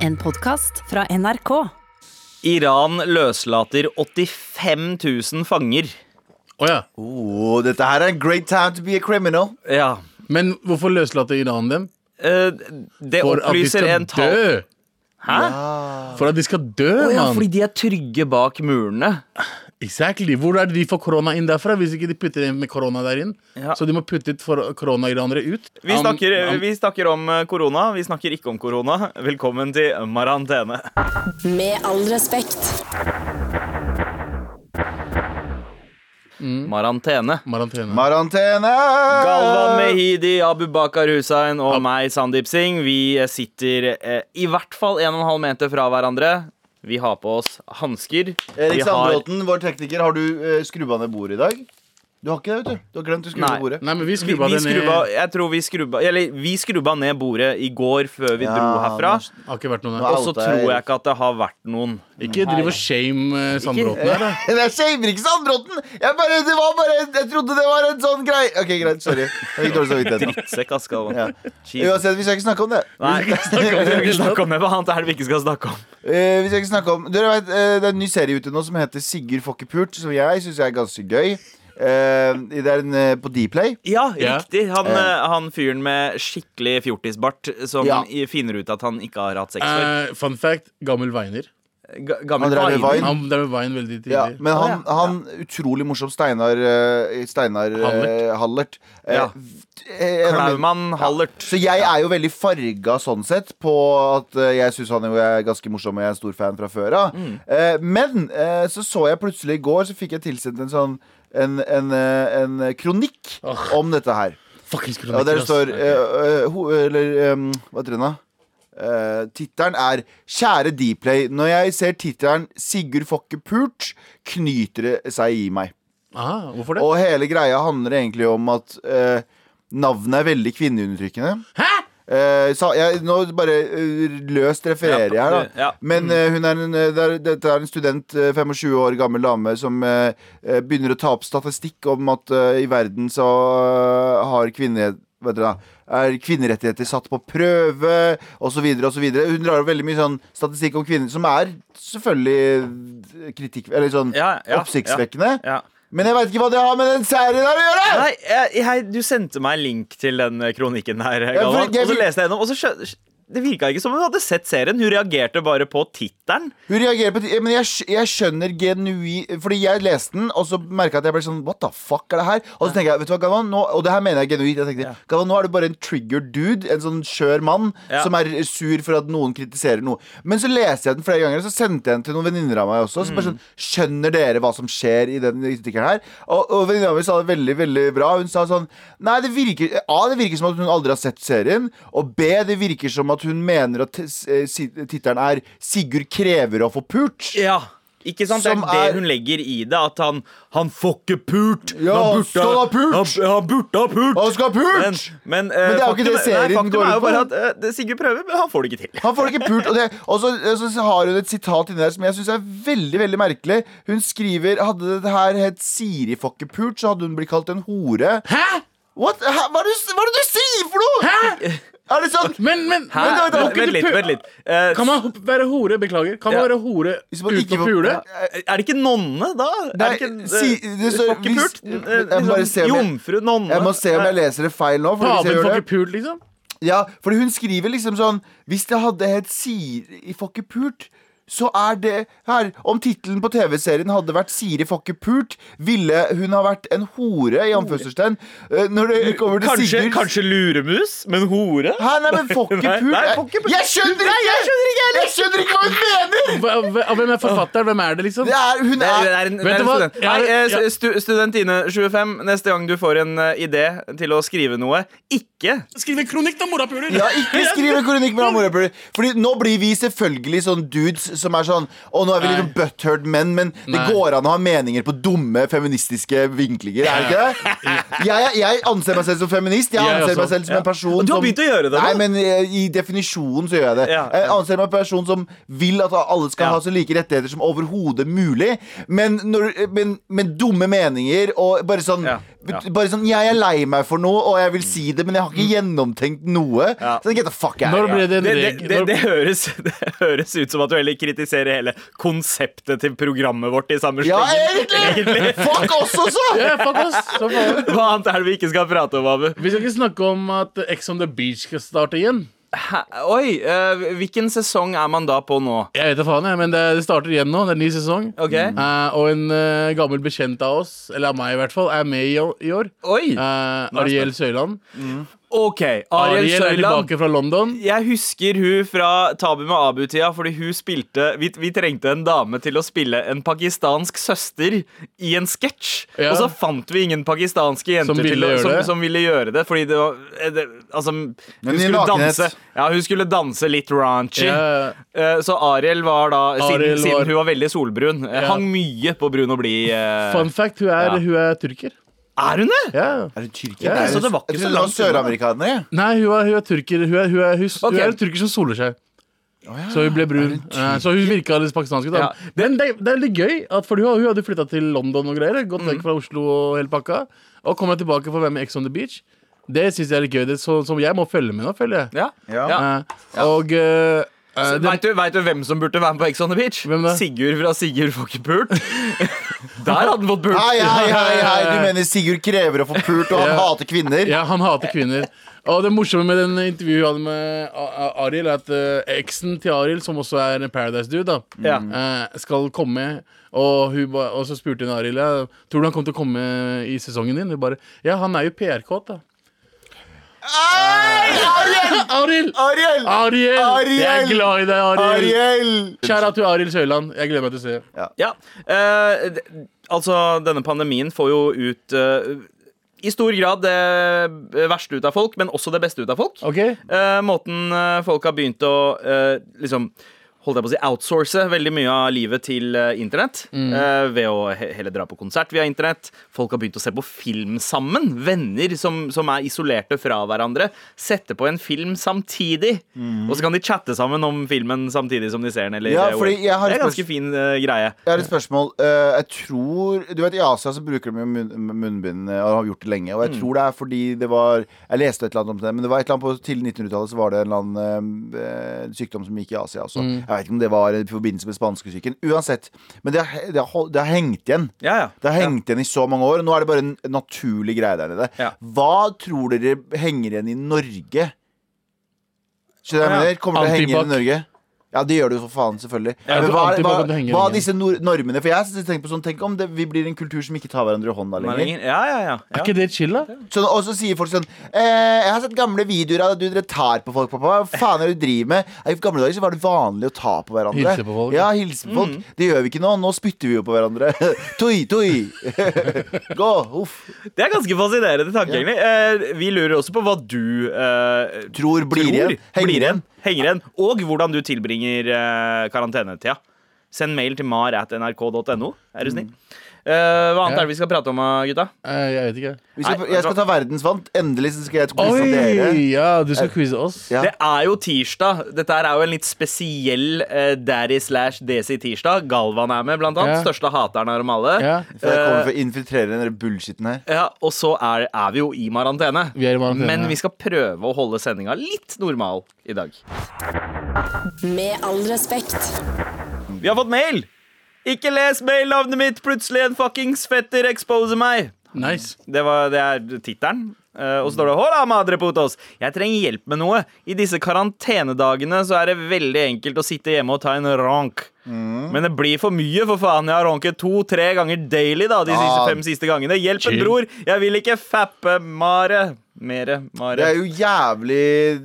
En podkast fra NRK. Iran løslater 85 000 fanger. Å ja. Oh, dette her er a great time to be a criminal. Ja. Men hvorfor løslater Iran dem? eh, Det For at de opplyser skal en tall dø! Hæ? For at de skal dø, Å ja, mann! fordi de er trygge bak murene. Exactly. Hvor er det de får korona inn derfra hvis ikke de putter inn med korona der inn? Ja. Så de må putte ut for korona-iranere ut? Vi Am- snakker, am- vi snakker om eh, korona, vi snakker ikke om korona. Velkommen til Marantene. Med all respekt. Marantene. Marantene. Marantene! Galvan Mehidi, Abubakar Hussein og Ja. meg, Sandeep Singh, vi eh, sitter eh, i hvert fall en og en halv meter fra hverandre. Vi har på oss hansker. Erik Vi har- Sandbråten, vår tekniker, har du eh, skrubba ned bordet i dag? Du har ikke det, vet du. Du har glemt å skru Nei. ned bordet. Nei, men vi Vi, skrubba vi det ned. skrubba, jeg tror vi skrubba Eller vi skrubba ned bordet i går før vi Ja, dro herfra. men- Har ikke vært noe Nå der. er- Og så outa tror Erik. jeg ikke at det har vært noen. Ikke driv og shame eh, Sandbråten her, da. Jeg shamer ikke Sandbråten! Jeg bare, det var bare, jeg trodde det var en sånn greie. Ok, greit. Sorry. Jeg fikk dårlig samvittighet. nå. Sekk, ass, Galvan. Ja. Jesus. Uansett, vi skal ikke snakke om det. Nei, vi skal ikke snakke om det. Hva annet er det vi ikke skal snakke om? Eh, vi skal ikke snakke om Dere vet, eh, Det er en ny serie ute nå som heter Sigurd får ikke pult, som jeg syns er ganske gøy. Eh, det er en eh, på Dplay. Ja, Ja. riktig. Han, eh, han fyren med skikkelig fjortisbart som Ja. i- finner ut at han ikke har hatt sex før. Eh, fun fact, gammel Weiner. Ga- Han Gammel drev med Weiner. Wein. Han drev med Wein veldig tidlig. Ja, men han, Å, ja. han utrolig morsom Steinar eh, Steinar eh, Hallert. Hallert. Eh, Ja. v- eh, en av mine- Klaumann Hallert. Så jeg er jo veldig farga sånn sett på at eh, jeg syns han jo er ganske morsom, og jeg er stor fan fra før av. Mm. Eh, men eh, så så jeg plutselig i går, så fikk jeg tilsendt en sånn en, en, eh, en kronikk Åh. om dette her. Fuckings Og der det kronikker, står ass. eh, eh, ho, Eller em, hva heter den da? Uh, tittelen er 'Kjære Dplay, når jeg ser tittelen 'Sigurd får ikke pult', knyter det seg i meg. Aha, hvorfor det? Og hele greia handler egentlig om at eh, navnet er veldig kvinneundertrykkende. Hæ? Eh, sa, jeg, nå bare eh, løst refererer jeg her, da. Ja. Mm. Men eh, hun er en, eh, det er, dette er en student, eh, 25 år gammel dame, som eh, eh, begynner å ta opp statistikk om at eh, i verden så eh, har kvinne, vet dere da, er kvinnerettigheter satt på prøve, osv. osv. Hun drar opp veldig mye sånn statistikk om kvinner, som er selvfølgelig kritikk... Eller sånn Ja, ja, oppsiktsvekkende. Ja. Men jeg veit ikke hva det har med den serien her å gjøre! Nei, jeg, jeg, du sendte meg link til den eh, kronikken her, for Galvan. jeg Og så vil- leste jeg gjennom, og så skjø- det virka ikke som hun hadde sett serien. Hun reagerte bare på tittelen. Hun reagerer på ti- Men jeg, skj- jeg skjønner genui Fordi jeg leste den, og så merka jeg at jeg ble sånn What the fuck er det her? Og så tenker jeg, vet du hva, Galvan, nå, og det her mener jeg genuint. Jeg tenkte, Ja. Galvan, nå er du bare en trigger dude, en sånn skjør mann, Ja. som er sur for at noen kritiserer noe. Men så leste jeg den flere ganger, og så sendte jeg den til noen venninner av meg også. Så bare sånn, Skjønner dere hva som skjer i den kritikkeren her? Og, og venninna mi sa det veldig, veldig bra. Hun sa sånn Nei, det virker A, det virker som at hun aldri har sett serien. Og B, det virker som at hun mener at t- s- eh, si- tittelen er 'Sigurd krever å få pult'. Ja ikke sant? Det Som er er- det hun legger i det. At han Han får ikke pult! Ja, skal ha pult! Han, han burde ha pult! Han skal ha pult! Men, men, eh, Men det er jo ikke det faktum- nei, serien faktum går er ut jo bare på. at eh, det- Sigurd prøver, men han får det ikke til. Han får ikke pult. Og, det, og så, og så har hun et sitat inni der som jeg syns er veldig veldig merkelig. Hun skriver Hadde det her hett Siri får ikke pult, så hadde hun blitt kalt en hore. Hæ? What? Hæ? Hva, er det, du- hva er det du sier for noe?! Hæ? Er det sånn? Men, men, Hæ? men da- da- Vent- Vent litt. vent litt Eh, Kan man hop- være hore? Beklager. Kan man Ja. være hore Hvis man ikke uten å får- pule? Er det ikke nonne, da? Nei, er det ikke, si- eh, det står- får ikke hvis- pult? jeg Eh, må bare se om jeg- jomfru, nonne Jeg må se om jeg leser det feil nå. For hvis jeg Paven gjør får det, ikke pult, liksom? ja, fordi hun skriver liksom sånn Hvis det hadde hett Siri får ikke pult så er det her Om tittelen på TV-serien hadde vært 'Siri får ikke pult', ville hun ha vært en hore, i anførselstegn. Eh, Når det kommer til Kanskje, Sigurd kanskje luremus, men hore? Hæ, nei, men får ikke Nei, pult. nei, får ikke pult. Jeg skjønner ikke! Jeg skjønner ikke, hva hun mener! Hva- hva- Hvem er forfatteren? Hvem er det, liksom? Det er, hun Det er, det er er en, Vet det er du en hva? student. Jeg Nei, har- eh, jeg- stu, Studentine25, neste gang du får en eh, idé til å skrive noe, ikke Skriv en kronikk, da, morapuler! ja, ikke skriv en kronikk med Amorapuler. Fordi nå blir vi selvfølgelig sånn dudes som er sånn Å, nå er vi Nei. liksom butthurt menn, men det Nei. går an å ha meninger på dumme feministiske vinklinger, er det ikke det? Jeg, jeg anser meg selv som feminist. Jeg Jeg anser også. meg selv som en person sånn. Og du har som- begynt å gjøre det nå. Nei, men eh, i definisjonen så gjør jeg det. Ja, Jeg ja. anser meg på person som vil at alle skal Ja. ha så like rettigheter som overhodet mulig, men, når, men, men dumme meninger og bare sånn Ja, ja. Bare sånn, Jeg er lei meg for noe, og jeg vil si det, men jeg har ikke gjennomtenkt noe. Mm. Ja. Så get the fuck out. Når ble det en Det, det, regel det, når- det, høres, det høres ut som at du heller kritiserer hele konseptet til programmet vårt i samme Ja, slengen. egentlig! Fuck oss også! Ja, fuck oss! Så faen. Hva annet er det vi ikke skal prate om, Abu? Vi skal ikke snakke om at Ex on the Beach skal starte igjen. Hæ? Oi, eh, hvilken sesong er man da på nå? Jeg vet da faen, jeg, men det, det starter igjen nå. Det er en ny sesong. Ok. Eh, og en eh, gammel bekjent av oss, eller av meg i hvert fall, er med i år. I år. Oi! Eh, Ariel Søyland. OK, Ariel Ariel er Søyland. tilbake fra London. Jeg husker hun fra Tabu med Abu-tida, fordi hun spilte vi, vi trengte en dame til å spille en pakistansk søster i en sketsj. Ja. Og så fant vi ingen pakistanske jenter Som ville til, å- gjøre som, det. som ville gjøre det. Fordi det var eh, det, Altså, hun i skulle, nakenhet. danse, ja, hun skulle danse litt raunchy. Ja. Eh, Så Ariel var da, siden, Ariel var- siden hun var veldig solbrun, eh, Ja. hang mye på brun og blid. eh. Fun fact, hun er, Ja. hun er turker. Er hun det? Ja. Er det Tyrkia? Ja, Nei, så det var ikke så jeg trodde det var langt unna. søramerikanere. jeg. Nei, hun er, hun er turker. Hun er, hun er, hun, Ok. hun er en turker som soler seg. ja. Så hun ble brun. Eh, Så hun virka litt pakistansk. ut, Da. Ja. Men det, det er litt gøy, at, for hun, hun hadde flytta til London og greier. Gått Mm. vekk fra Oslo og hele pakka. Og kommer tilbake for å være med i Ex on the Beach. Det syns jeg er litt gøy. Det, er så, som jeg må følge med nå, føler jeg. Ja. Ja. Eh, Og eh, eh, det, Veit du, vet du hvem som burde være med på Ex on the Beach? Hvem da? Sigurd fra Sigurd får ikke pult. Der hadde han fått pult. Hei, hei, hei, hei, du mener Sigurd krever å få pult, og han Ja. hater kvinner? Ja, han hater kvinner. Og det morsomme med den intervjuet han hadde med A- A- Ariel, er at eh, eksen til Ariel, som også er en Paradise-dude, da Ja. eh, skal komme. Og, hun ba, og så spurte hun Ariel ja, Tror du han kommer til å komme i sesongen din. Hun bare Ja, han er jo PR-kåt, da. Ariel! Ariel! Ariel! Jeg er glad i deg, Ariel. Ariel! Kjære til Ariel Søyland. Jeg gleder meg til å se. Ja. eh, d- altså, denne pandemien får jo ut eh, i stor grad det verste ut av folk, men også det beste ut av folk. OK? Eh, måten eh, folk har begynt å eh, liksom Holdt jeg på å si outsource veldig mye av livet til eh, internett. Mm. eh, ved å he heller dra på konsert via internett. Folk har begynt å se på film sammen. Venner som, som er isolerte fra hverandre. Sette på en film samtidig. Og så kan de chatte sammen om filmen samtidig som de ser den. Eller, Mm. Ja, eh, fordi jeg har det et er ganske fin eh, greie. Jeg har et spørsmål. Eh, jeg tror Du vet, I Asia så bruker de jo munn, munnbind eh, og har gjort det lenge. Og jeg tror det er fordi det var Jeg leste et eller annet om det, men det var et eller annet på tidlig 1900-tallet så var det en eller annen eh, sykdom som gikk i Asia også. Jeg vet ikke om det var i forbindelse med spanskesyken. Uansett. Men det har, he- det har, hol- det har hengt igjen. Ja, ja. Det har hengt igjen i så mange år, og nå er det bare en naturlig greie der nede. Ja. Hva tror dere henger igjen i Norge? Skjønner du hva jeg Ja. mener? Kommer det til å henge igjen i Antibac. Norge? Ja, det gjør det jo for faen, selvfølgelig. Jeg tror Men hva, er- antibac hva, kommer til å henge hva igjen. er disse nor normene? For jeg har tenkt på sånn, tenk om det, vi blir en kultur som ikke tar hverandre i hånda lenger. Ja, ja, ja. Er ja. ikke det chill, da? Sånn, og så sier folk sånn eh, Jeg har sett gamle videoer av at du dere tar på folk, pappa. Hva faen er det du driver med? I gamle dager så var det vanlig å ta på hverandre. Hilse på folk. Ja, hilse Mm. på folk. Det gjør vi ikke nå. Nå spytter vi jo på hverandre. tui, tui. Gå. Uff. Det er ganske fascinerende tanke, egentlig. Eh, vi lurer også på hva du eh, Tror blir tror igjen. Henger blir igjen. Henger igjen. Og hvordan du tilbringer eh, karantenetida. Send mail til mar at nrk.no, er du snill. Eh, hva annet Ja. er det vi skal prate om, eh, gutta? Eh, Jeg vet ikke. Vi skal, Nei, jeg skal ta verdensvant. Endelig så skal jeg quize dere. Oi! Ja, du skal quize oss. Ja. Det er jo tirsdag. Dette her er jo en litt spesiell eh, daddy slash desi-tirsdag. Galvan er med, blant annet. Ja. Største hateren av dem alle. Eh, Ja. For jeg kommer for å infiltrere den der bullshitten her. Ja, og så er, er vi jo i marantene. Vi er i marantene, Men ja. vi skal prøve å holde sendinga litt normal i dag. Med all respekt. Vi har fått mail! Ikke les mailnavnet mitt! Plutselig en fuckings fetter exposer meg! Nice. Det, var, det er tittelen. Eh, og så står det Hola, madre putos! Jeg trenger hjelp med noe. I disse karantenedagene så er det veldig enkelt å sitte hjemme og ta en rank. Mm. Men det blir for mye, for faen. Jeg har ranket to-tre ganger daily da, de siste Ah. fem siste gangene. Hjelp en Chill. bror! Jeg vil ikke fappe mare. Mere, Det mare. er jo jævlig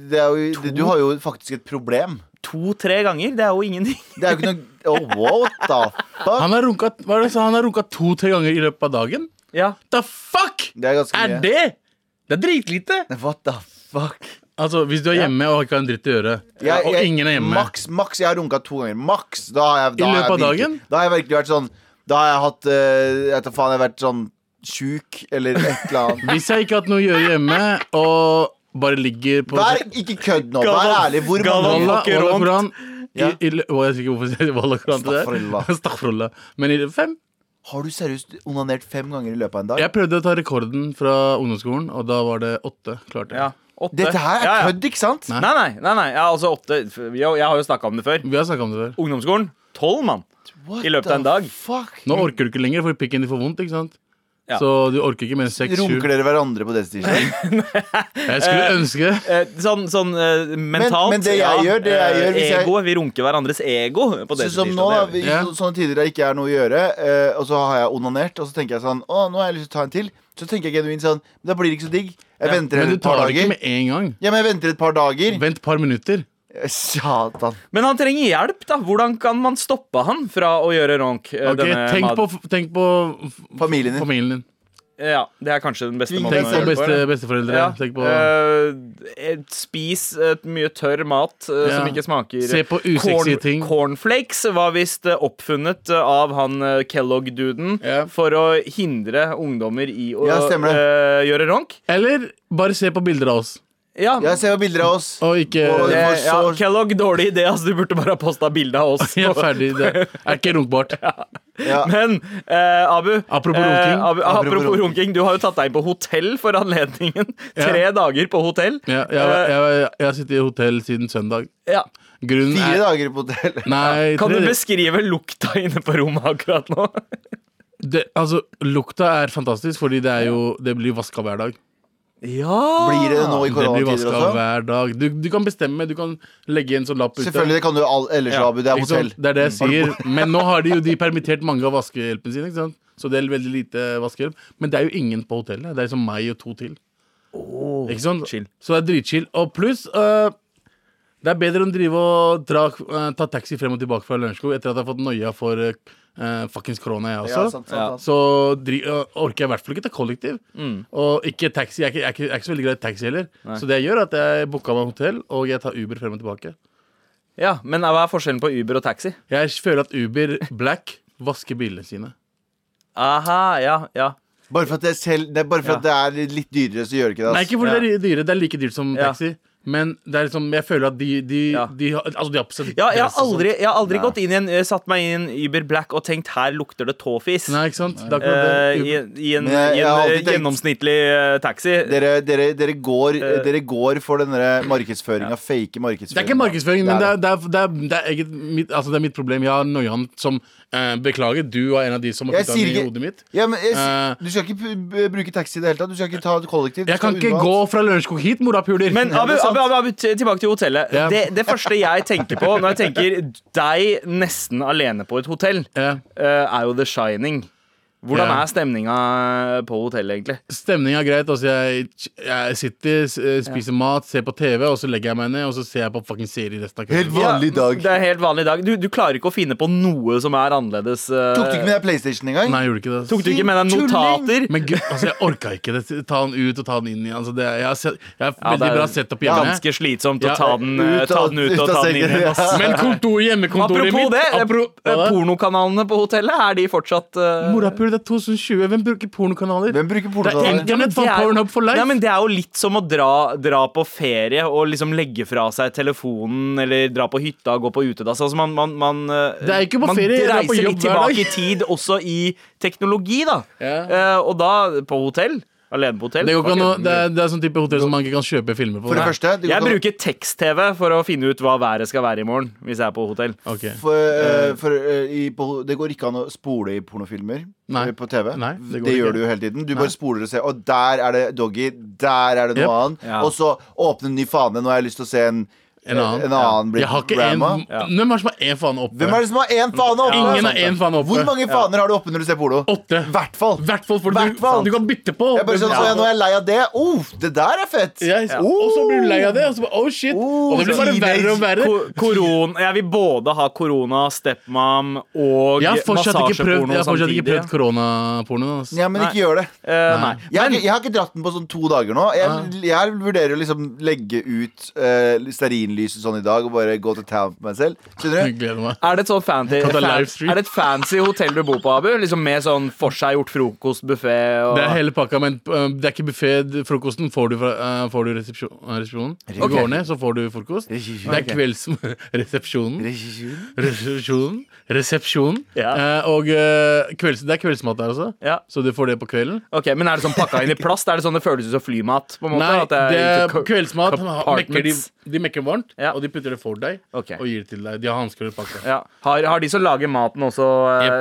det er jo, det, Du har jo faktisk et problem. To-tre ganger, det er jo ingenting. Det er jo ikke noe oh, What the fuck? Han har runka, hva er det, jeg sa? han har runka to-tre ganger i løpet av dagen? Ja. The fuck Det er ganske er mye. det?! Det er dritlite! What the fuck? Altså, Hvis du er hjemme og ikke har en dritt å gjøre, Jeg- og jeg- ingen er hjemme Maks, maks, jeg har runka to ganger. Maks! Da har jeg, da I har jeg løpet av virkelig- dagen? Da har jeg virkelig vært sånn Da har jeg hatt eh, Jeg vet da faen, jeg har vært sånn sjuk eller et eller annet. Hvis jeg ikke har hatt noe å gjøre hjemme, og bare ligger på Vær ikke kødd nå. Vær Gavan- ærlig. Hvor Gavan- mange Walla, fucker Walla rundt. Koran i, Ja. i, å, Jeg vet ikke hvorfor jeg sier Walla Koran til Staffrullah. det. Staffrullah. Men i fem. Har du seriøst onanert fem ganger i løpet av en dag? Jeg prøvde å ta rekorden fra ungdomsskolen, og da var det åtte. Klarte Ja, jeg. åtte. Dette her er Ja, ja. kødd, ikke sant? Nei. Nei, nei, nei, nei. Ja, altså åtte Jeg, jeg har jo snakka om det før. Vi har snakka om det før. Ungdomsskolen. Tolv, mann. What I løpet av en dag. the Fuck. Nå orker du ikke lenger, for pikken din får vondt. ikke sant? Ja. Så du orker ikke mer enn seks, sju. Runker dere hverandre på det stedet? Jeg skulle ønske Eh, sånn sånn eh, mentalt. men det jeg gjør, det jeg eh, gjør hvis jeg- Ego. Vi runker hverandres ego. På Så det som tirsdag, nå, det da, gjør vi. vi, Ja. så, sånne tider det ikke er noe å gjøre, eh, og så har jeg onanert, og så tenker jeg sånn Å, nå har jeg lyst til å ta en til. Så tenker jeg genuint sånn Da blir det ikke så digg. Jeg venter Men du et par tar det ikke dager. med en gang. Ja, men jeg venter et par dager. Vent et par minutter. Satan. Men han trenger hjelp, da. Hvordan kan man stoppe han fra å gjøre ronk? eh, Ok, denne tenk, mad- på, f- tenk på f- Familien din. familien din. Ja, det er kanskje den beste Tving måten deg å Tenk på gjøre det på. beste, eller? besteforeldre. Ja. Tenk på, eh, spis eh, mye tørr mat eh, Ja. som ikke smaker Se på usexy ting. Cornflakes var visst eh, oppfunnet eh, av han eh, Kellogg-duden Ja. for å hindre ungdommer i å Ja, stemmer det. eh, gjøre ronk. Eller bare se på bilder av oss. Ja, Ja, se på bilder av oss. Og ikke Og- det, det var Eh, ja, så- Kellogg, dårlig idé. Altså, du burde bare ha posta bilde av oss. Ja, ferdig. Det er ikke runkbart. Ja. Men eh, Abu, Apropos eh, runking. Abu Apropos apropos runking. runking, du har jo tatt deg inn på hotell for anledningen. Tre dager på hotell. Ja, jeg, jeg, jeg, jeg har sittet i hotell siden søndag. Eh, ja. Grunnen Fire er dager på hotell. Nei, Kan du tre- beskrive lukta inne på rommet akkurat nå? det, altså, lukta er fantastisk, fordi det, er jo, det blir vaska hver dag. Ja Blir det det nå i Det blir koronatider vasket også? hver dag. Du, du kan bestemme, du kan legge en sånn lapp ute. Selvfølgelig, det kan du all, ellers, Ja, Abu. Det er Ikke sant? hotell. Mm. Det er det jeg sier. Men nå har de jo de permittert mange av vaskehjelpen sin, ikke sant? så det er veldig lite vaskehjelp. Men det er jo ingen på hotellet. Det er liksom meg og to til. ikke sant? chill. Så det er dritchill. Og pluss øh, det er bedre enn å drive og dra, øh, ta taxi frem og tilbake fra Lørenskog etter at jeg har fått noia for uh, fuckings korona, jeg også. Ja, sant, sant, Ja. sant. Så dri øh, orker jeg i hvert fall ikke ta kollektiv. Mm. Og ikke taxi. Jeg er ikke, jeg er ikke, jeg er ikke så veldig glad i taxi heller. Så det jeg gjør, er at jeg booka meg hotell, og jeg tar Uber frem og tilbake. Ja, Men hva er forskjellen på Uber og taxi? Jeg føler at Uber Black vasker bilene sine. Aha, ja, ja Bare for at det er, selv, det er, bare for at det er litt dyrere, så gjør det ikke det. Nei, ass. ikke fordi det er dyre. Det er like dyrt som Ja. taxi. Men det er liksom, jeg føler at de, de, Ja. de, har- altså de har på seg Ja, jeg har dress og sånt. aldri, jeg har aldri Nei. gått inn i en eh, satt meg inn i en Uber Black og tenkt 'her lukter det tåfis'. Nei, ikke sant? Det er akkurat Eh, det. I, Uber- I en, Men i jeg- jeg en har eh, alltid tenkt- gjennomsnittlig eh, taxi. Dere, dere, dere, går, Eh. dere går for denne markedsføringa, fake markedsføringa. det er ikke markedsføring, men det er, det er, det er, det er, eget, mitt, altså det er mitt problem. Jeg har Noyan som eh, Beklager, du var en av de som har Jeg putta sier den i ikke- hodet mitt. ja, men jeg, Eh. Du skal ikke pu- b- bruke taxi i det hele tatt. Du skal ikke ta et kollektiv. Du Jeg kan skal ikke unna gå alt. fra Lørenskog hit, morapuler! Men Abu, Abu, Abu, Abu, t- tilbake til hotellet. Ja. Det, det første jeg tenker på når jeg tenker deg nesten alene på et hotell, Ja. eh, er jo The Shining. Hvordan Ja. er stemninga på hotellet, egentlig? Stemninga er greit. Altså jeg, jeg sitter, s- eh, spiser mat, ser på TV, og så legger jeg meg ned og så ser jeg på fucking serie resten av Helt kvelden. vanlig dag. Det er helt vanlig dag. Du, du klarer ikke å finne på noe som er annerledes. eh. Tok du ikke med deg PlayStation engang? Nei, jeg gjorde ikke det. Tok du ikke med deg Tulling! notater? Men gud, altså, jeg orka ikke det. Ta den ut og ta den inn igjen. Altså, det, jeg har, sett, jeg har Ja, det veldig er bra sett opp hjemme. Ganske slitsomt å Ja, ta den, eh, ut ta av- den ut ut og av ta den inn sengen, igjen. ja. ass. Men kontor, hjemmekontoret Apropos mitt det, eh, apro- eh, Hva da? pornokanalene på hotellet, er de fortsatt eh, Morapul, det er 2020. Hvem bruker pornokanaler? Hvem bruker Det er pornotaler? egentlig- Internett var det er- Pornhub for life. Nei, men Det er jo litt som å dra, dra på ferie og liksom legge fra seg telefonen eller dra på hytta og gå på utedass. Altså man, man, man, eh, Det er ikke på man ferie, jeg drar på reiser litt jobb tilbake hver i dag. tid, også i teknologi, da. Ja. Eh, og da på hotell. Alene på hotell. Det, går ikke an å- fuck it. det, er, det er sånn type hotell som man ikke kan kjøpe filmer på. For det Nei. første det går Jeg ikke an- bruker tekst-TV for å finne ut hva været skal være i morgen. Hvis jeg er på hotell Ok. for, eh, for, eh, i, på, Det går ikke an å spole i pornofilmer Nei. eh, på TV. Nei, det det går ikke. gjør du jo hele tiden. Du bare spoler og ser. Og der er det doggy, der er det noe Jep. annet. Ja. Og så åpne en ny fane. Nå har jeg lyst til å se en, En annen. en annen bli Jeg har ikke en, grandma. Ja. Hvem er det som har én faen oppe? Hvem er det som har én fane oppe? Ingen har én faen oppe. Hvor mange faner har du oppe når du ser porno? Åtte. Hvert fall. Hvert fall, for du, Hvert fall. du kan bytte på. Jeg er bare sånn, Ja. så jeg, nå er jeg lei av det. Oh, det der er fett! Ja, Og så blir du lei av det, og så bare oh shit. Oh, og det blir bare teenage- verre og verre. Ko- Korona Jeg vil både ha korona, stepmom og Jeg har fortsatt ikke massasjeporno prøvd, jeg har fortsatt ikke samtidig. prøvd koronaporno. ass. Ja, men Nei. ikke gjør det. Eh, nei. Jeg, Men- Ah. har ikke- jeg har ikke dratt den på sånn to dager nå. Jeg, jeg vurderer å liksom legge ut uh, stearinlys stearinlyset sånn i dag og bare gå til town på meg selv. Skjønner Jeg du? gleder meg. Er det et sånn fancy, Kan ta fan, live stream. er det et fancy hotell du bor på, Abu? Liksom Med sånn forseggjort frokostbuffé og Det er hele pakka, men eh, det er ikke buffé. Frokosten får du fra eh, får du resepsjon, eh, resepsjonen. Du Ok. går ned, så får du frokost. Det er kvelds... Resepsjonen. Resepsjonen. Resepsjonen. Ja. Eh, og eh, kvelds, det er kveldsmat der også, Ja. så du får det på kvelden. Ok, Men er det sånn pakka inn i plast? Er det sånn det føles ut som flymat? på en måte? Nei, At det er co- kveldsmat. Mekker de, compartments? de mekker varmt, Ja. og de putter det for deg Ok. og gir det til deg. De har hansker og pakka. Ja. Har, har de som lager maten, også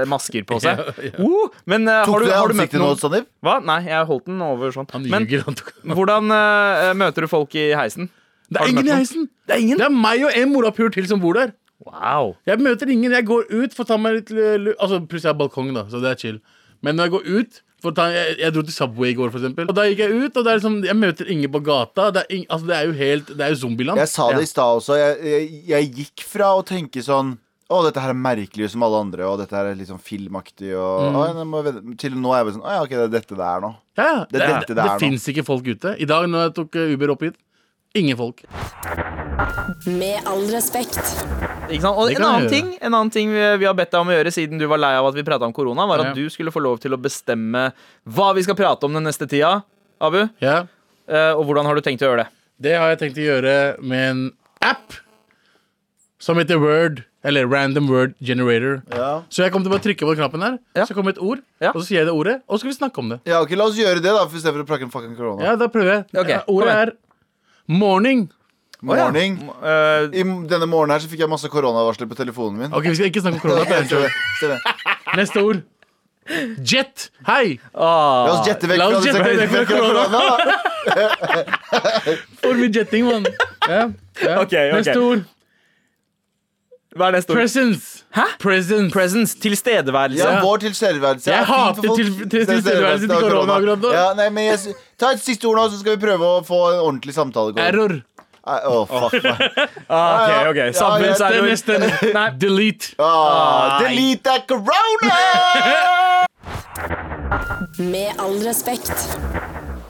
eh, masker på seg? Ja, ja. Oh, men eh, Tok har, du du, det i har du møtt ansiktet nå, noen Sandeep? Hva? Nei, jeg holdt den over sånn. Han Men ljuger. Han hvordan eh, møter du folk i heisen? det har du er ingen møtt i noen? heisen! Det er ingen. Det er meg og en morapur til som bor der. Wow. Jeg møter ingen. Jeg går ut for å ta meg litt lu- lu- Altså, Pluss jeg har balkong, da, så det er chill. Men når jeg går ut for å ta, jeg, jeg dro til Subway i går, for eksempel. Og da gikk jeg ut, og det er liksom, jeg møter ingen på gata. Det er, ing, altså, det er jo helt Det er jo zombieland. Jeg sa det i stad også. Jeg, jeg, jeg gikk fra å tenke sånn å, dette her er merkelig som alle andre, og dette her er litt sånn filmaktig. Og, Mm. «Å, jeg må vente». Til nå er jeg bare sånn Å ja, OK, det er dette det er nå. Ja, ja. Det det er det, dette det, det er nå. fins ikke folk ute. I dag når jeg tok eh, Uber opp hit, ingen folk. Med all respekt. Ikke sant? Og en Det kan annen, jeg ting, en annen ting vi vi har bedt deg om å gjøre siden du var lei av at vi prata om korona, var at Ja. du skulle få lov til å bestemme hva vi skal prate om den neste tida. Abu, Ja. eh, og hvordan har du tenkt å gjøre det? Det har jeg tenkt å gjøre med en app som heter Word, eller Random Word Generator. Ja. Så jeg kommer til å bare trykke på den knappen her, Ja. så kommer et ord, Ja. og så sier jeg det ordet, og så skal vi snakke om det. Ja, ok, La oss gjøre det, da, for istedenfor å prakke en fucking korona. Ja, da prøver jeg. Ok, Ja, kom ordet igjen. er morning. Morning. Eh, I m- denne morgenen her så fikk jeg masse koronavarsler på telefonen min. Ok, vi skal ikke snakke om korona. Se for jeg det, se det. tror- Neste ord. Jet. Hei! ah, La oss jette vekk La oss fra det jette vekk fra sekretariatet korona. da. For mye jetting, mann. Ja, ja. Ok, ok. Neste ord. hva er neste ord? Presence. Hæ? Presence. Presence. Tilstedeværelse. Ja, Ja. vår tilstedeværelse. Jeg er fin hater for folk. til- til- tilstedeværelsen til av korona akkurat nå. Ja, nei, men jeg, s- ta et siste ord nå, så skal vi prøve å få en ordentlig samtale. gående. Error. Nei, Å, fuck meg. Ah, Ja, ok, ok. ja. Ja, Samme- ja, samme- Det er neste. Nei. Delete. Ah, delete that corona! Med all respekt.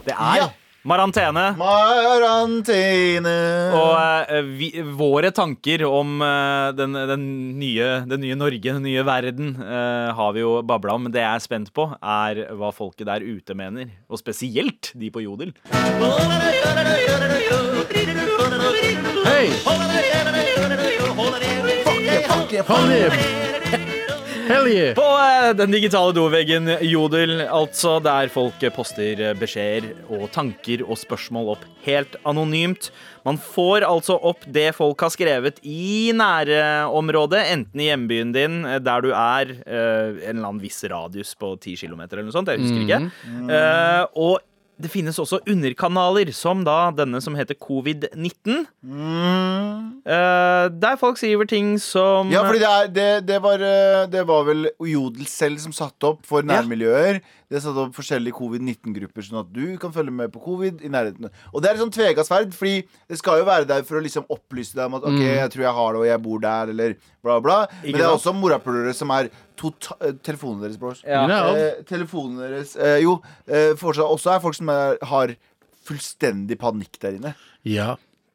Det er Ja. Marantene. Marantine. Og eh, vi, våre tanker om eh, den, den, nye, den nye Norge, den nye verden, eh, har vi jo babla om. Men det jeg er spent på, er hva folket der ute mener. Og spesielt de på Jodel. Hei! Hold it. Hell yeah. På eh, den digitale doveggen Jodel, altså, der folk poster eh, beskjeder og tanker og spørsmål opp helt anonymt. Man får altså opp det folk har skrevet i nærområdet, enten i hjembyen din, eh, der du er, eh, en eller annen viss radius på 10 km eller noe sånt, jeg husker ikke. Eh, og det finnes også underkanaler, som da denne som heter covid-19. Mm. Eh, der folk skriver ting som Ja, fordi det, er, det, det, var, eh, det var vel Jodel selv som satte opp for nærmiljøer. Det satte opp forskjellige covid-19-grupper, sånn at du kan følge med på covid i nærheten. Og det er et sånn tvega sverd, fordi det skal jo være der for å liksom opplyse deg om at OK, jeg tror jeg har det, og jeg bor der, eller bla, bla. Men det er Mm. sant? også morapulere som er tota eh, Telefonen deres, brors. Ja. Mine er av. Eh, telefonen deres eh, Jo, eh, fortsatt også er folk som er, har fullstendig panikk der inne. Ja.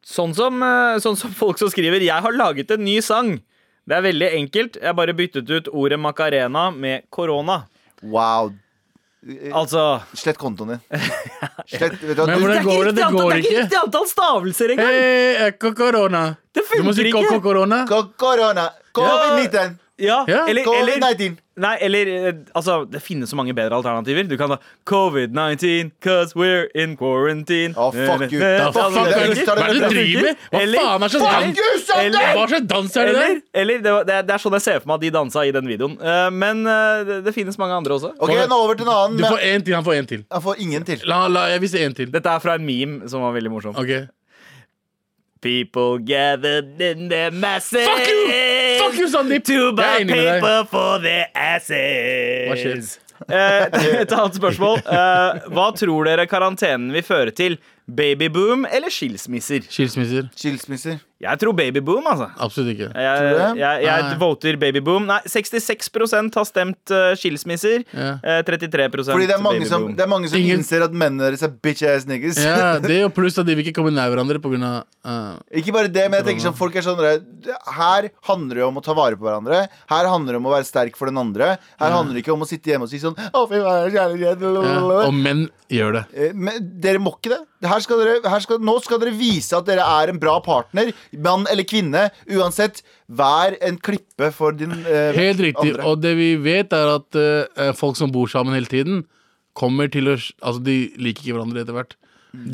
Sånn som, eh, sånn som folk som skriver 'Jeg har laget en ny sang'. Det er veldig enkelt. Jeg bare byttet ut ordet macarena med korona. Wow. Eh, Altså Slett kontoen din. Slett, vet du, hva, Men du- hvordan Det går det, det riktig antall- går det er ikke ikke. riktig antall stavelser engang! Hei, korona. Det Du må funker si ikke. korona. Ko- Korona. Covid-19. Ja, Ja, eller, eller, Covid-19. nei, eller eh, Altså, det finnes så mange bedre alternativer. Du kan da covid-19 cause we're in quarantine. Å, fuck you. Da Hva faen er det Hva er du driver med? Hva faen er så Fuck you, Sander! Hva slags dans er det der? Eller, eller det, var, det, er, det er sånn jeg ser for meg at de dansa i den videoen. Eh, men eh, det, det finnes mange andre også. Ok, nå over til en annen. Du får Men én til, han får én til. jeg får ingen til. La, la, jeg vil se én til. Dette er fra en meme som var veldig morsom. Ok People gathered in their masses. Fuck you! Fuck you, Sandeep! To Jeg er buy enig med deg. paper for their Hva skjer? asses. Eh, et annet spørsmål. Eh, hva tror dere karantenen vil føre til? Babyboom eller skilsmisser? Skilsmisser. Skilsmisser. Jeg tror babyboom, altså. Absolutt ikke. Jeg, Tror du det? jeg, jeg Nei. voter babyboom. Nei, 66 har stemt eh, skilsmisser. Ja. Eh, 33 Fordi det er mange som, babyboom. det er mange som Ingen- innser at mennene deres er bitch ass niggas. Ja, det og pluss at de vil ikke komme nær hverandre på grunn av eh, Ikke bare det, men jeg tenker sånn folk er sånn der, Her handler det om å ta vare på hverandre. Her handler det om å være sterk for den andre. Her handler det ikke om å sitte hjemme og si sånn Å, fy faen, jeg er så jævlig redd, ja, lalalala». Og menn gjør det. Eh, Men dere må ikke det. Her skal dere, her skal, nå skal dere vise at dere er en bra partner. Mann eller kvinne. Uansett, vær en klippe for din eh, Helt riktig. andre. Og det vi vet, er at eh, folk som bor sammen hele tiden, kommer til å Altså, de liker ikke hverandre etter hvert.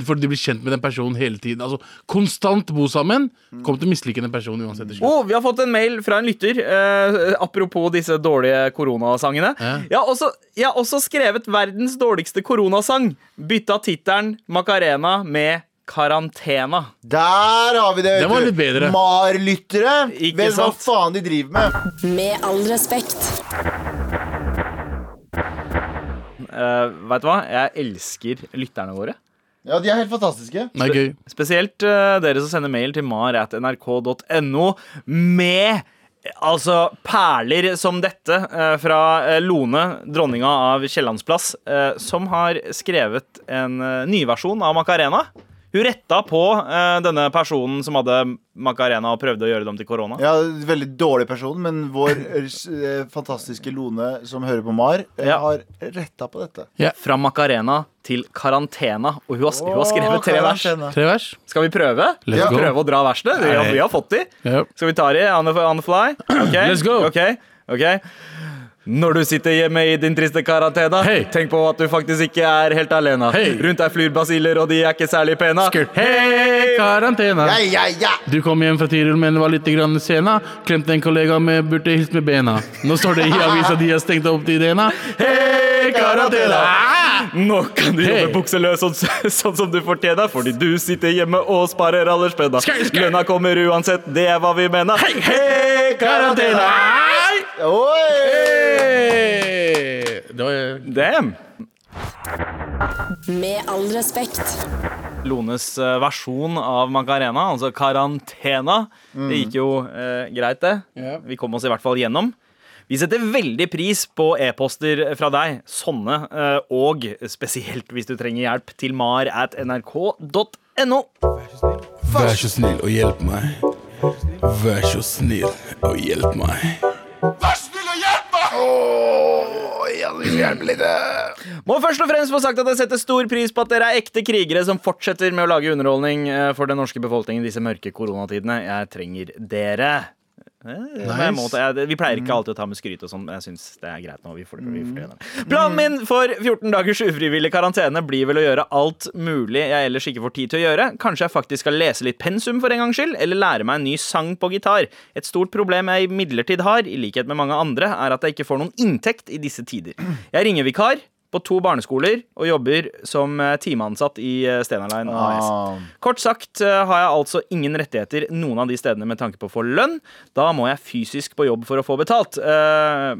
For de blir kjent med den personen hele tiden. Altså, Konstant bo sammen. Kommer til å mislike den personen uansett. til slutt. Oh, vi har fått en mail fra en lytter, eh, apropos disse dårlige koronasangene. Ja. Jeg, har også, jeg har også skrevet verdens dårligste koronasang. Bytta tittelen Macarena med Karantena. Der har vi det! vet Den var du. litt bedre. Mar-lyttere. Ikke Vet hva sant? faen de driver med. Med all respekt. Uh, vet du hva? Jeg elsker lytterne våre. Ja, De er helt fantastiske. Det er gøy. Spesielt eh, dere som sender mail til mar.nrk.no med eh, altså perler som dette eh, fra eh, Lone, dronninga av Kiellandsplass, eh, som har skrevet en eh, nyversjon av Macarena. Hun retta på eh, denne personen som hadde Macarena og prøvde å gjøre dem til korona. Ja, Veldig dårlig person, men vår eh, fantastiske Lone som hører på Mar, eh, Ja. har retta på dette. Fra Macarena til karantena. Og hun har, hun har skrevet tre Åh, vers. karantene. Tre vers. Skal vi prøve? Let's Ja. go. Prøve å dra versene? Vi har, vi har fått de. Ja. Skal vi ta det on the, on the fly? Ok, Let's go. Ok, ok. Når du sitter hjemme i din triste karantene, Hei. tenk på at du faktisk ikke er helt alene. Hei. Rundt deg flyr basiller, og de er ikke særlig pene. Skurt. Hei, karantene! Ja, ja, ja. Du kom hjem fra Tirol, men var litt grann sena. Klemte en kollega med burde hilst med bena. Nå står det i avisa de har stengt opp Tirena. Hei, karantene! Ah! Nå kan du jobbe Hei. bukseløs sånn, sånn som du fortjener, fordi du sitter hjemme og sparer alderspenna. Skurt, skurt. Lønna kommer uansett, det er hva vi mener. Hei, hei, karantene! Oi! Hei! Det var eh, Damn. Med all respekt. Lones eh, versjon av Macarena, altså karantena. Det gikk jo eh, greit, det. Ja. Vi kom oss i hvert fall gjennom. Vi setter veldig pris på e-poster fra deg, sånne, eh, og spesielt hvis du trenger hjelp, til mar at nrk.no. Vær så snill og hjelp meg. Vær så snill og hjelp meg. Må først og fremst få sagt at jeg setter stor pris på at dere er ekte krigere som fortsetter med å lage underholdning eh, for den norske befolkningen i disse mørke koronatidene. Jeg trenger dere. Eh, på en måte. Jeg, vi pleier ikke alltid å ta med skryt og sånn, men jeg syns det er greit nå. Vi får, vi fortjener det. Planen min for 14 dagers ufrivillig karantene blir vel å gjøre alt mulig jeg ellers ikke får tid til å gjøre. Kanskje jeg faktisk skal lese litt pensum for en gangs skyld, eller lære meg en ny sang på gitar. Et stort problem jeg imidlertid har, i likhet med mange andre, er at jeg ikke får noen inntekt i disse tider. Jeg ringer vikar på to barneskoler og jobber som eh, timeansatt i eh, Stena Line AS. Ah. Kort sagt eh, har jeg altså ingen rettigheter noen av de stedene med tanke på å få lønn. Da må jeg fysisk på jobb for å få betalt. Eh,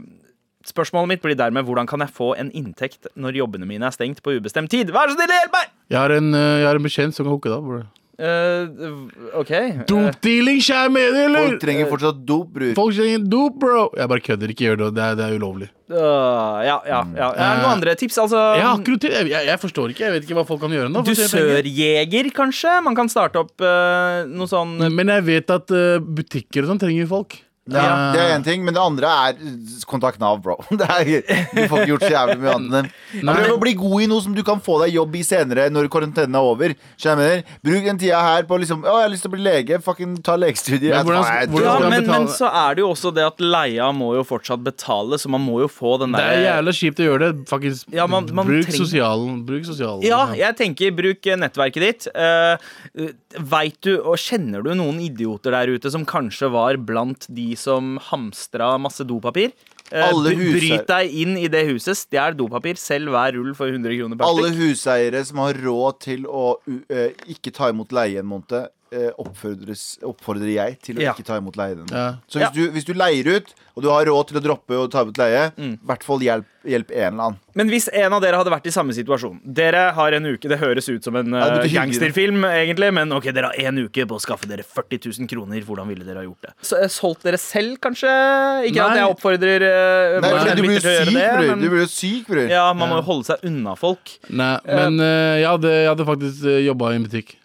Spørsmålet mitt blir dermed hvordan kan jeg få en inntekt når jobbene mine er stengt på ubestemt tid? Vær så snill, hjelp meg! Jeg har en, eh, jeg har en bekjent som kan hooke deg opp. bror. Eh, OK. Dopdealing, skjær med det, Folk eller? trenger fortsatt dop, bror. Folk trenger dop, bro. Jeg bare kødder. Ikke gjør det. Det er, det er ulovlig. Eh, ja, ja, ja. Er det noen andre tips? Altså Jeg, har ikke noe til. Jeg, jeg, jeg forstår ikke. Jeg vet ikke hva folk kan gjøre nå. for å tjene penger. Dusørjeger, kanskje? Man kan starte opp eh, noe sånn Men jeg vet at eh, butikker og sånn trenger folk. Ja, det er én ting, men det andre er eh, kontakt Nav, bro. Det er, du får ikke gjort så jævlig mye annet enn det. Prøv å bli god i noe som du kan få deg jobb i senere, når karantenen er over. Skjønner jeg mener? Bruk den tida her på liksom Å, jeg har lyst til å bli lege. Fucking ta legestudier. Men hvordan- Nei, jeg tror- ja, hvordan- skal men, betale? men så er det jo også det at leia må jo fortsatt betale, så man må jo få den Det der eh, er jævla kjipt å gjøre det. Faktisk, Ja, man- man bruk trenger- sosialen. Bruk sosialen. Ja, jeg tenker bruk eh, nettverket ditt. Uh, Veit du og kjenner du noen idioter der ute som kanskje var blant de som hamstra masse dopapir? Eh, Alle bry- huser- Bryt deg inn i det huset, stjel dopapir, selg hver rull for 100 kroner per Alle stykk. huseiere som har råd til å u- eh, ikke ta imot leie en måned, eh, oppfordres, oppfordrer jeg til å Ja. ikke ta imot leien. Ja. Så hvis, Ja. du, hvis du leier ut, og du har råd til å droppe å ta imot leie, i Mm. hvert fall hjelp, hjelp en eller annen. Men hvis en av dere hadde vært i samme situasjon Dere har en uke, det høres ut som en det eh, betyr hyggelig. gangsterfilm egentlig Men ok, dere har en uke på å skaffe dere 40 000 kroner Hvordan ville dere ha gjort det? Så, eh, solgt dere selv kanskje? Ikke Nei. at jeg oppfordrer eh, Nei, våre fordi du blir jo lytter til å gjøre syk, det, bror. men- Du blir jo syk, bror. Ja, man må jo holde seg unna folk Nei, men eh, jeg, hadde, jeg hadde faktisk uh, jobba i en butikk.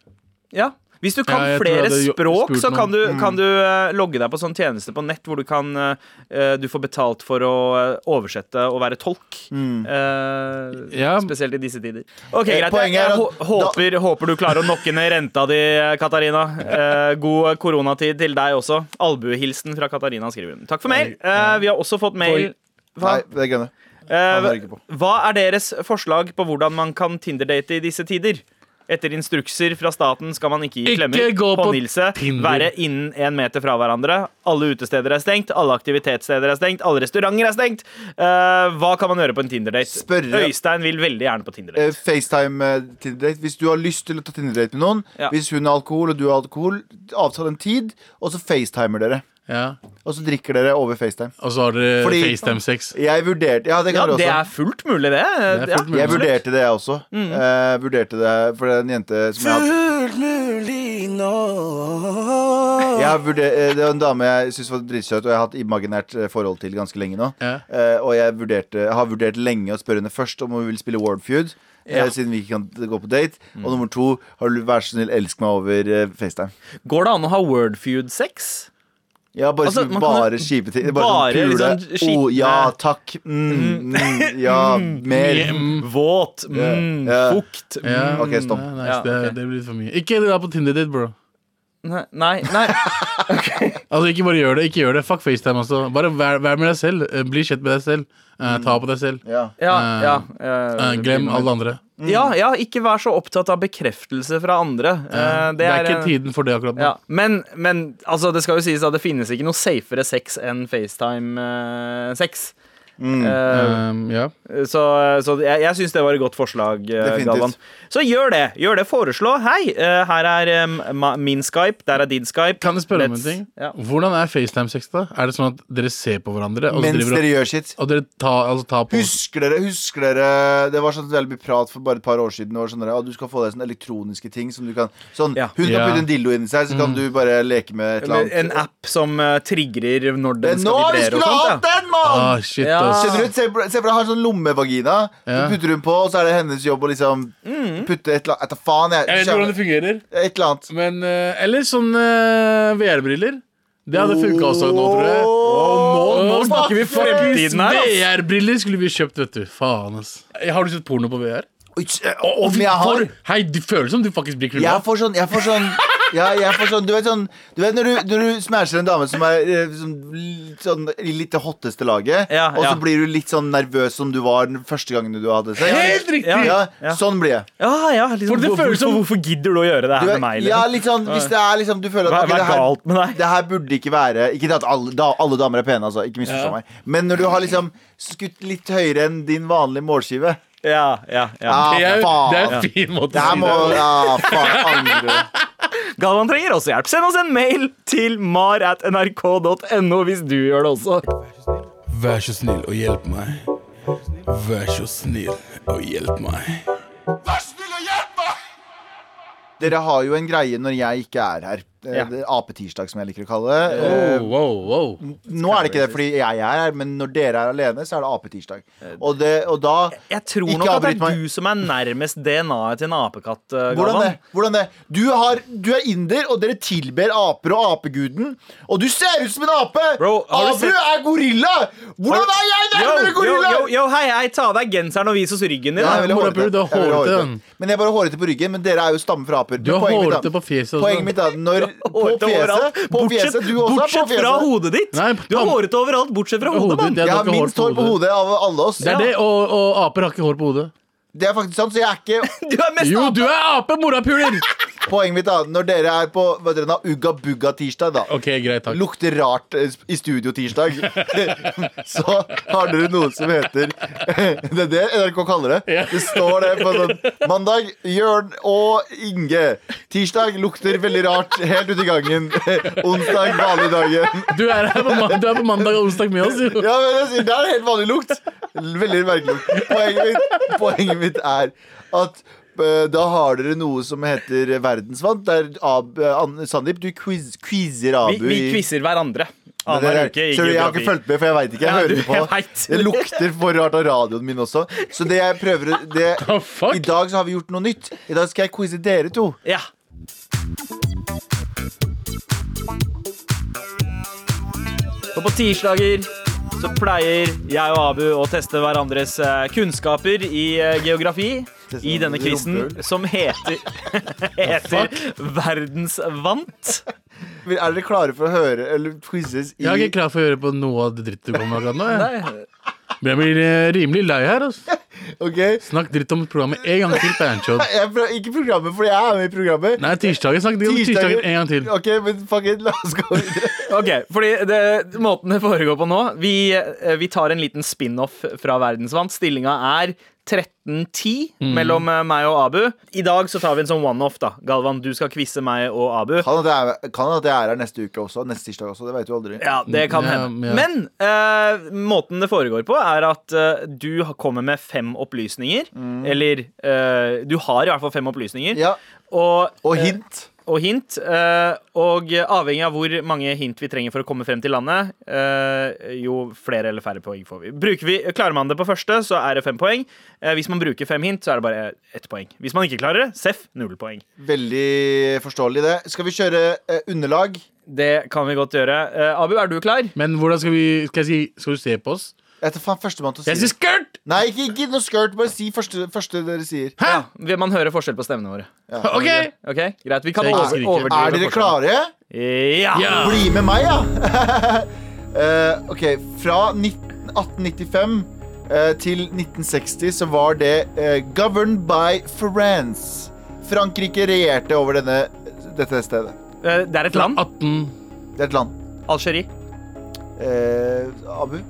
Ja hvis du kan Ja, jeg tror jeg flere hadde jo- språk, spurt så kan noen. Mm. du, kan du eh, logge deg på sånn tjeneste på nett hvor du kan eh, eh, Du får betalt for å eh, oversette og være tolk. Eh, Mm. Ja. Spesielt i disse tider. Ok, greit. Eh, Jeg, poenget er jeg at hå- håper, håper du klarer å nokke ned renta di, eh, Katarina. Eh, god koronatid til deg også. Albuehilsen fra Katarina, skriver hun. Takk for mail. Eh, vi har også fått mail. Nei, Hva? det er grønne. Eh, hører ikke på. hva er deres forslag på hvordan man kan Tinder-date i disse tider? Etter instrukser fra staten skal man ikke gi Ikke klemmer. gå på Håndhilse. Tinder. Være innen én meter fra hverandre. Alle utesteder er stengt. Alle aktivitetssteder er stengt. Alle restauranter er stengt. Eh, hva kan man gjøre på en Tinder-date? Spørre- Øystein vil veldig gjerne på Tinder-date. Eh, FaceTime-Tinder-date. Hvis du har lyst til å ta Tinder-date med noen, Ja. hvis hun har alkohol og du har alkohol, avtal en tid, og så FaceTimer dere. Ja. Og så drikker dere over FaceTime. Og så har dere Fordi- FaceTime-sex. Jeg vurderte Ja, det Ja, kan det dere er også. fullt mulig, det. Det er fullt mulig. Jeg vurderte det, jeg også. Mm. Eh, vurderte det for det er en jente som jeg hadde jeg har vurder- eh, Det var en dame jeg syns var dritsøt, og jeg har hatt imaginært eh, forhold til ganske lenge nå. Ja. Eh, og jeg, vurderte, jeg har vurdert lenge å spørre henne først om hun vil spille World Feud. eh, Ja. Mm. Siden vi ikke kan gå på date. Og nummer to, har du vær så snill, elsk meg over eh, FaceTime. Går det an å ha wordfeud-sex? Ja, bare, Altså, altså, man kan jo bare kjipe ting. Bare, bare sånn pule. liksom skitne- oh, ja, takk. Mm, mm, ja, mer. Mm. Våt. Mm, Ja. Fukt. Ja, Ok, stopp. Nei, nei, Ja, det, ok. det blir litt for mye. Ikke dra på Tinder-date, bro. Nei, nei. nei. Altså, ikke bare gjør det. Ikke gjør det. Fuck FaceTime, altså. Bare vær, vær med deg selv. Eh, Bli kjent med deg selv. Eh, Ta på deg selv. Mm. Ja. Ja, Eh, ja. Eh, eh, glem alle andre. Ja, ja, ikke vær så opptatt av bekreftelse fra andre. Eh, Det er ikke eh, tiden for det akkurat nå. ja. Men, men altså, det skal jo sies at det finnes ikke noe safere sex enn FaceTime-sex. Eh, ja. så så jeg, jeg syns det var et godt forslag, eh, Definitivt. Galvan. Så gjør det. gjør det, Foreslå. Hei, eh, her er eh, ma- min Skype, der er din Skype. Kan jeg spørre om en Let's- ting? Ja. Hvordan er FaceTime-sex, da? Er det sånn at dere ser på hverandre? Og, så Mens driver, dere gjør sitt. og dere tar, altså, tar på Husker dere, husker dere Det var sånn veldig mye prat for bare et par år siden. Og sånn, der, «Å, du skal få deg sånne elektroniske ting som du kan sånn, Ja. Hun kan Ja. putte en dildo inni seg, så kan du bare leke med et eller Med annet. En app som eh, trigger når Det den er skal nå vi vibrere. og skulle sånt, ja. hatt den, mann! Ah, shit, Ja. ass. Skjønner du, Se for se for deg har en sånn lommevagina. Ja. Så putter hun på, og så er det hennes jobb å liksom putte et eller annet Etter faen, jeg. Jeg vet ikke hvordan det fungerer. Et eller annet. Men eh, Eller sånne eh, VR-briller. Det hadde funka også nå, tror jeg. nå- nå snakker vi fremtiden her, ass. VR-briller skulle vi kjøpt, vet du. Faen, ass. Eh, Har du sett porno på VR? Oi, om jeg har For, hei, det føles som du faktisk blir knulla. Jeg får sånn, jeg får sånn ja, jeg får sånn, du vet sånn Du vet når du, når du smasher en dame som er eh, sånn, litt sånn, i litt det hotteste laget, Ja, og ja. så blir du litt sånn nervøs som du var den første gangen du hadde sex. Helt riktig! Ja, Ja. Sånn blir jeg. Ja, ja, liksom, For det hvorfor, føles som- hvorfor gidder du å gjøre det Du her vet, med meg? ja, Liksom? litt sånn, hvis det er liksom Du føler Hva at ok, hva det er her, galt med deg? det her burde ikke være Ikke det at alle, da, alle damer er pene, altså. Ikke misforstå Ja. meg. Men når du har liksom skutt litt høyere enn din vanlige målskive Ja, ja, ja. Ah, Det er, det er faen. en fin måte Det å her si må det på. Ja, faen. Angrer. Galvan trenger også hjelp. Send oss en mail til mar at nrk.no hvis du gjør det også. Vær så snill og hjelp meg. Vær så snill og hjelp meg. Dere har jo en greie når jeg ikke er her. Eh, Ja. det er Apetirsdag, som jeg liker å kalle det. Wow, wow, wow. Oh, Eh, Nå er det ikke det fordi jeg er her, men når dere er alene, så er det apetirsdag. Og, det- og da Eh, Jeg tror Ikke nok at det avbryt er meg. du som er nærmest DNA-et til en apekatt, eh, hvordan det? Galvan. Hvordan det? Du, har, du er inder, og dere tilber aper og apeguden. Og du ser ut som en ape! Bro, har du Abu sett- er gorilla! Hvordan er jeg nærmere Yo, gorilla? yo, yo, hei, hei, ta av deg genseren og vis oss ryggen din. Ja, da. jeg er veldig Mora Bru, du er Jeg er veldig hårete. Men jeg er bare hårete på ryggen, men dere er jo stammen fra aper. Du Men er poenget mitt da- hårete på fjeset også. Poenget mitt er at når På Hårete overalt. fjeset, på bortsett, fjeset, du også er på bortsett fra fjeset. hodet ditt. Nei, du har faen. hårete overalt, bortsett fra hodet, Hodet mann. ditt, Jeg har har ikke minst hår på hodet av alle oss. Det er det, og, og aper har ikke hår på hodet. Det er faktisk sant, så jeg er ikke Du er mest Jo, du er ape, morapuler! Poenget mitt er når dere er på hva dere har Ugga Bugga tirsdag, da. OK, greit, takk. Lukter rart eh, i studio tirsdag. Så har dere noe som heter Det er det NRK kaller det. Det står det på sånn Mandag Jørn og Inge. Tirsdag lukter veldig rart helt ut i gangen. Onsdag vanlig dagen. Du er her på, man du er på mandag og onsdag med oss, jo. Ja, men jeg sier, Det er helt vanlig lukt. Veldig merkelig lukt. Poenget mitt, poenget mitt er at eh, da har dere noe som heter verdensvant. Der Ab, eh, An- Sandeep, du quiz, quizer Vi, Abu vi i- quizer hverandre. Men det Annenhver er- uke i Sorry, jeg har geografi. ikke fulgt med, for jeg veit ikke. Jeg Ja, hører du- ikke på. jeg vet. Det lukter for rart av radioen min også. Så det jeg prøver å- det, Oh, fuck. I dag så har vi gjort noe nytt. I dag skal jeg quize dere to. Ja. Og på tirsdager så pleier jeg og Abu å teste hverandres eh, kunnskaper i eh, geografi Teste i denne quizen rumpehull. som heter, heter Verdensvant. Er dere klare for å høre eller quizes i Jeg er ikke klar for å høre på noe av det drittet du kommer med akkurat nå. Jeg. Men jeg blir eh, rimelig lei her. Altså. Ok? Snakk dritt om programmet en gang til. Banchod. Jeg, prøv- ikke programmet, for jeg er med i programmet. Nei, tirsdagen. Snakk dritt om tirsdagen en gang til. Ok, men fuck it, la oss gå videre. Ok, fordi det, Måten det foregår på nå Vi, eh, vi tar en liten spin-off fra Verdensvant. Stillinga er 13-10 Mm. mellom eh, meg og Abu. I dag så tar vi en sånn one-off. da Galvan, du skal quize meg og Abu. Kan at jeg er- kan at jeg er her neste uke også. Neste tirsdag også. Det veit du aldri. Ja, det kan Ja, hende. ja. Men eh, måten det foregår på, er at eh, du kommer med fem opplysninger. Mm. Eller eh, du har i hvert fall fem opplysninger. Ja, Og, Og eh, hint. og hint. eh, og avhengig av hvor mange hint vi trenger for å komme frem til landet, eh, jo flere eller færre poeng får vi. Bruker vi. Klarer man det på første, så er det fem poeng. Eh, hvis man bruker fem hint, så er det bare ett poeng. Hvis man ikke klarer det, seff, null poeng. Veldig forståelig, det. Skal vi kjøre eh, underlag? Det kan vi godt gjøre. Eh, Abu, er du klar? Men hvordan skal vi Skal jeg si Skal du se på oss? Jeg tar faen førstemann til å si Jeg sier det. skørt! Nei, ikke, ikke noe skørt. Bare si første, første dere sier. Hæ? Ja, man hører forskjell på stemmene våre. OK! Ok, greit. Vi kan Jeg over, husker ikke. overdrive Er dere forskjellen. klare? Ja. Ja. Bli med meg, ja! Eh, ok, fra 19 1895 eh, til 1960 så var det eh, governed by France. Frankrike regjerte over denne, dette stedet. Eh, Det er et land. 18 Det er et land. Algerie. Eh, Abu?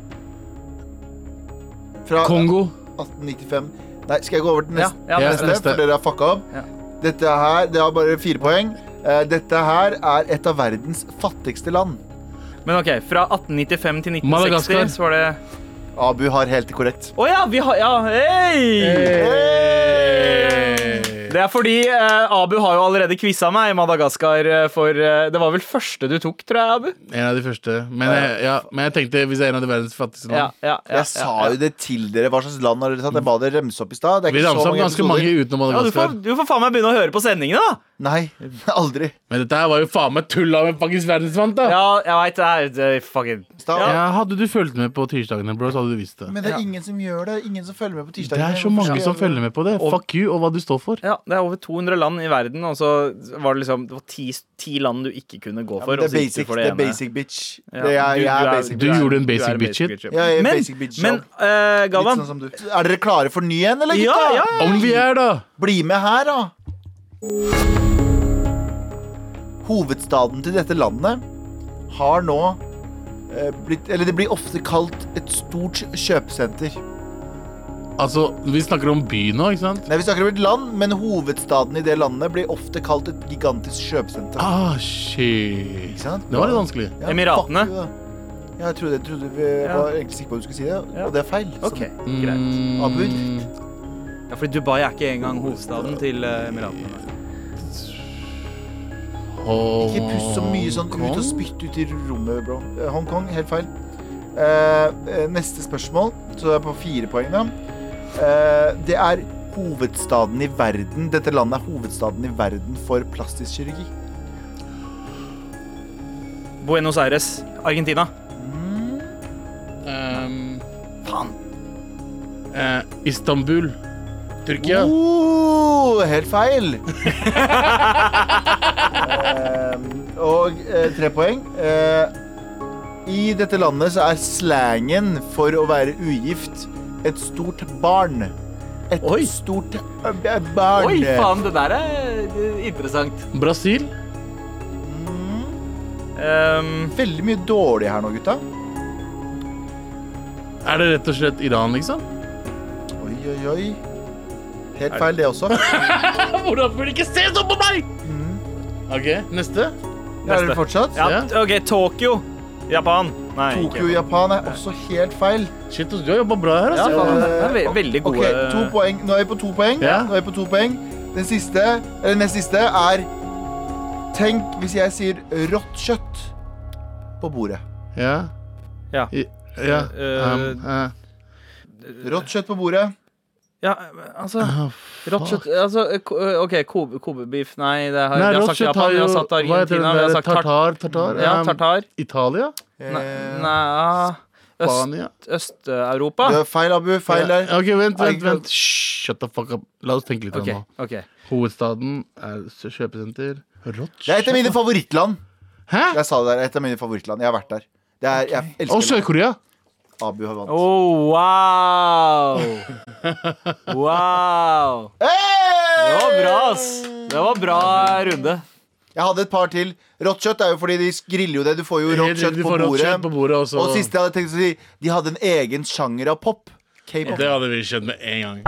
Fra Kongo. 1895 Nei, skal jeg gå over til Ja, neste? ja, Ja, neste. neste, neste. for dere har fucka opp. Ja. Dette her, Det har bare fire poeng. Eh, Dette her er et av verdens fattigste land. Men ok, fra 1895 til 1960 Madagaskar. så var det Abu har helt korrekt. Å ja, vi har Ja, hei! Hey. Det er fordi eh, Abu har jo allerede quiza meg i Madagaskar eh, for eh, Det var vel første du tok, tror jeg, Abu? En av de første. Men jeg, ja, men jeg tenkte hvis jeg er en av de verdens fattigste Ja, land ja, ja, Jeg sa jo det til dere. Hva slags land har dere tatt? Jeg ba dere remse opp i stad. Det er Vi ikke så ramsa opp mange ganske mange episoder. utenom ja, du, får, Madagaskar. du får faen meg begynne å høre på sendingene, da! Nei, aldri. Men dette her var jo faen meg tulla med faktisk verdensvant, da. Ja, jeg veit det er det er fucking Stad. Ja, hadde du fulgt med på tirsdagene, bro, så hadde du visst det. Men det er ingen som gjør det. Ingen som følger med på Det tirsdag. er så mange som følger med på det. Fuck you og hva du står for. ja, Det er over 200 land i verden, og så var det liksom Det var ti, ti land du ikke kunne gå for. og Det er så gikk du basic, for det er ene. basic bitch. Ja, Det er, du- jeg du er er- basic Du er- bitch. gjorde en basic du er bitch, shit. shit. Jeg er Men, basic bitch. men jobb. eh, Litt Galvan sånn som du. Er dere klare for ny en, eller Ja, gutta? ja, ja. Om vi er, da! Bli med her, da. Hovedstaden til dette landet har nå eh, blitt Eller det blir ofte kalt et stort kjøpesenter. Altså, vi snakker om by nå, ikke sant? Nei, Vi snakker om et land, men hovedstaden i det landet blir ofte kalt et gigantisk kjøpesenter. Ah, shit. Ikke sant? Det var litt vanskelig. Ja, Emiratene. fuck you, da. Ja, jeg trodde, jeg trodde vi Ja. var egentlig sikre på at du skulle si det, Ja. og det er feil. Sånn, Så- Ok, greit Mm. Abu? Ja, fordi Dubai er ikke engang hovedstaden til eh, Emiratene. Ikke pust så mye sånn ut og spytt ut i rommet, bro. Eh, Hongkong, helt feil. Eh, eh, neste spørsmål, så er jeg på fire poeng, da. Eh, det er hovedstaden i verden Dette landet er hovedstaden i verden for plastisk kirurgi. Buenos Aires, Argentina. Ehm. Faen. Eh, Istanbul. Tyrkia. Oh, helt feil! Eh, og eh, tre poeng. Eh, I dette landet så er slangen for å være ugift et stort barn. Et Oi. stort ø, barn. Oi, faen, det der er eh, interessant. Oh. Brasil? Ehm, Mm, Veldig mye dårlig her nå, gutta. Er det rett og slett Iran, liksom? Oi, oi, oi. Helt feil, det også. Hvordan får de ikke se sånn på meg?! Mm. OK, neste. Er det fortsatt? ja, OK, Tokyo. Japan. Nei, Tokyo, ikke. Japan er også helt feil. Shit, ass, du har jobba bra her. Ja, Altså. faen, det er ve veldig Ok, gode to poeng. Nå er vi på to poeng. Ja. Nå er vi på to poeng. Den siste, eller nest siste, er Tenk hvis jeg sier rått kjøtt på bordet. Ja. Ja. I, ja. Eh, um, eh. Rått kjøtt på bordet. Ja, altså Ah, Rått kjøtt altså, ko- OK, kobe- kobebeef Nei, det har, Nei, jeg har rått sagt kjøtt Japan, har jeg jo har sagt Hva heter den Argentina, jeg har der? sagt tartar. Tartar? tartar Ja, um, tartar. Italia? Nei, Eh, nei, Øst, Spania? Øst-Europa? det er feil, Abu. Feil der. Ja, OK, vent, Nei, vent. vent. Shh, Shut the fuck up. La oss tenke litt OK. om nå. ok Hovedstaden er s- kjøpesenter. Rått Det er et av mine favorittland. Hæ? Jeg sa det der. Et av mine favorittland. Jeg har vært der. Det er, jeg Og elsker det. Sør-Korea. Abu har vant. Oh, wow! Wow! Det var Hey! bra, ass. Det var bra runde. Jeg hadde et par til. Rått kjøtt er jo fordi de griller jo det. Du får jo rått kjøtt Du på får rått bordet. kjøtt på bordet også. Og siste jeg hadde tenkt å si, de hadde en egen sjanger av pop. K-pop. Det hadde vi skjønt med en gang.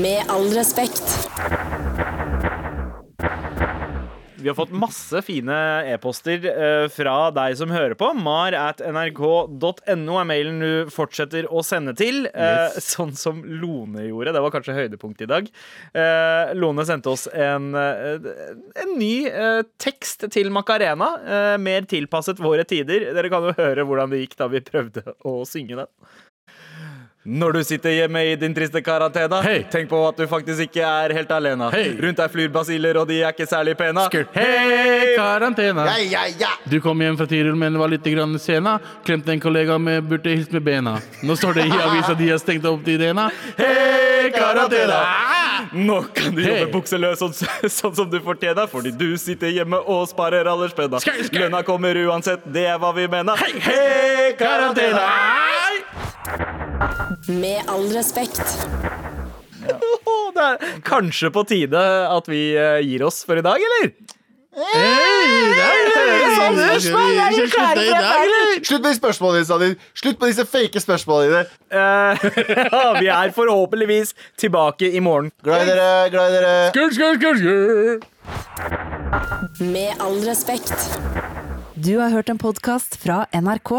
Med all respekt. Vi har fått masse fine e-poster eh, fra deg som hører på. Mar at nrk.no er mailen du fortsetter å sende til. eh, Sånn som Lone gjorde. Det var kanskje høydepunktet i dag. Eh, Lone sendte oss en, eh, en ny eh, tekst til Macarena. eh, mer tilpasset våre tider. Dere kan jo høre hvordan det gikk da vi prøvde å synge den. Når du sitter hjemme i din triste karantene, Hei. tenk på at du faktisk ikke er helt alene. Hei. Rundt deg flyr basiller, og de er ikke særlig pene. Skurt. Hei, karantene! Ja, ja, ja. Du kom hjem fra Tirol, men var litt grann sena. Klemte en kollega med burde hilst med bena. Nå står det i avisa de har stengt opp til Irena. Hei, karantene! Ah! Nå kan du jobbe Hei. bukseløs sånn, sånn som du fortjener, fordi du sitter hjemme og sparer alderspenna. Skei, skei. Lønna kommer uansett, det er hva vi mener. Hei, hei, karantene! Med all respekt. Åh, det er kanskje på tide at vi eh, gir oss for i dag, eller? Slutt med de spørsmålene dine, Sadir. Slutt med disse fake spørsmålene dine. Eh, ja, vi er forhåpentligvis tilbake i morgen. Glad i dere. Glad i dere. Skurt, skurt, skurt, skurt. Med all respekt. Du har hørt en podkast fra NRK.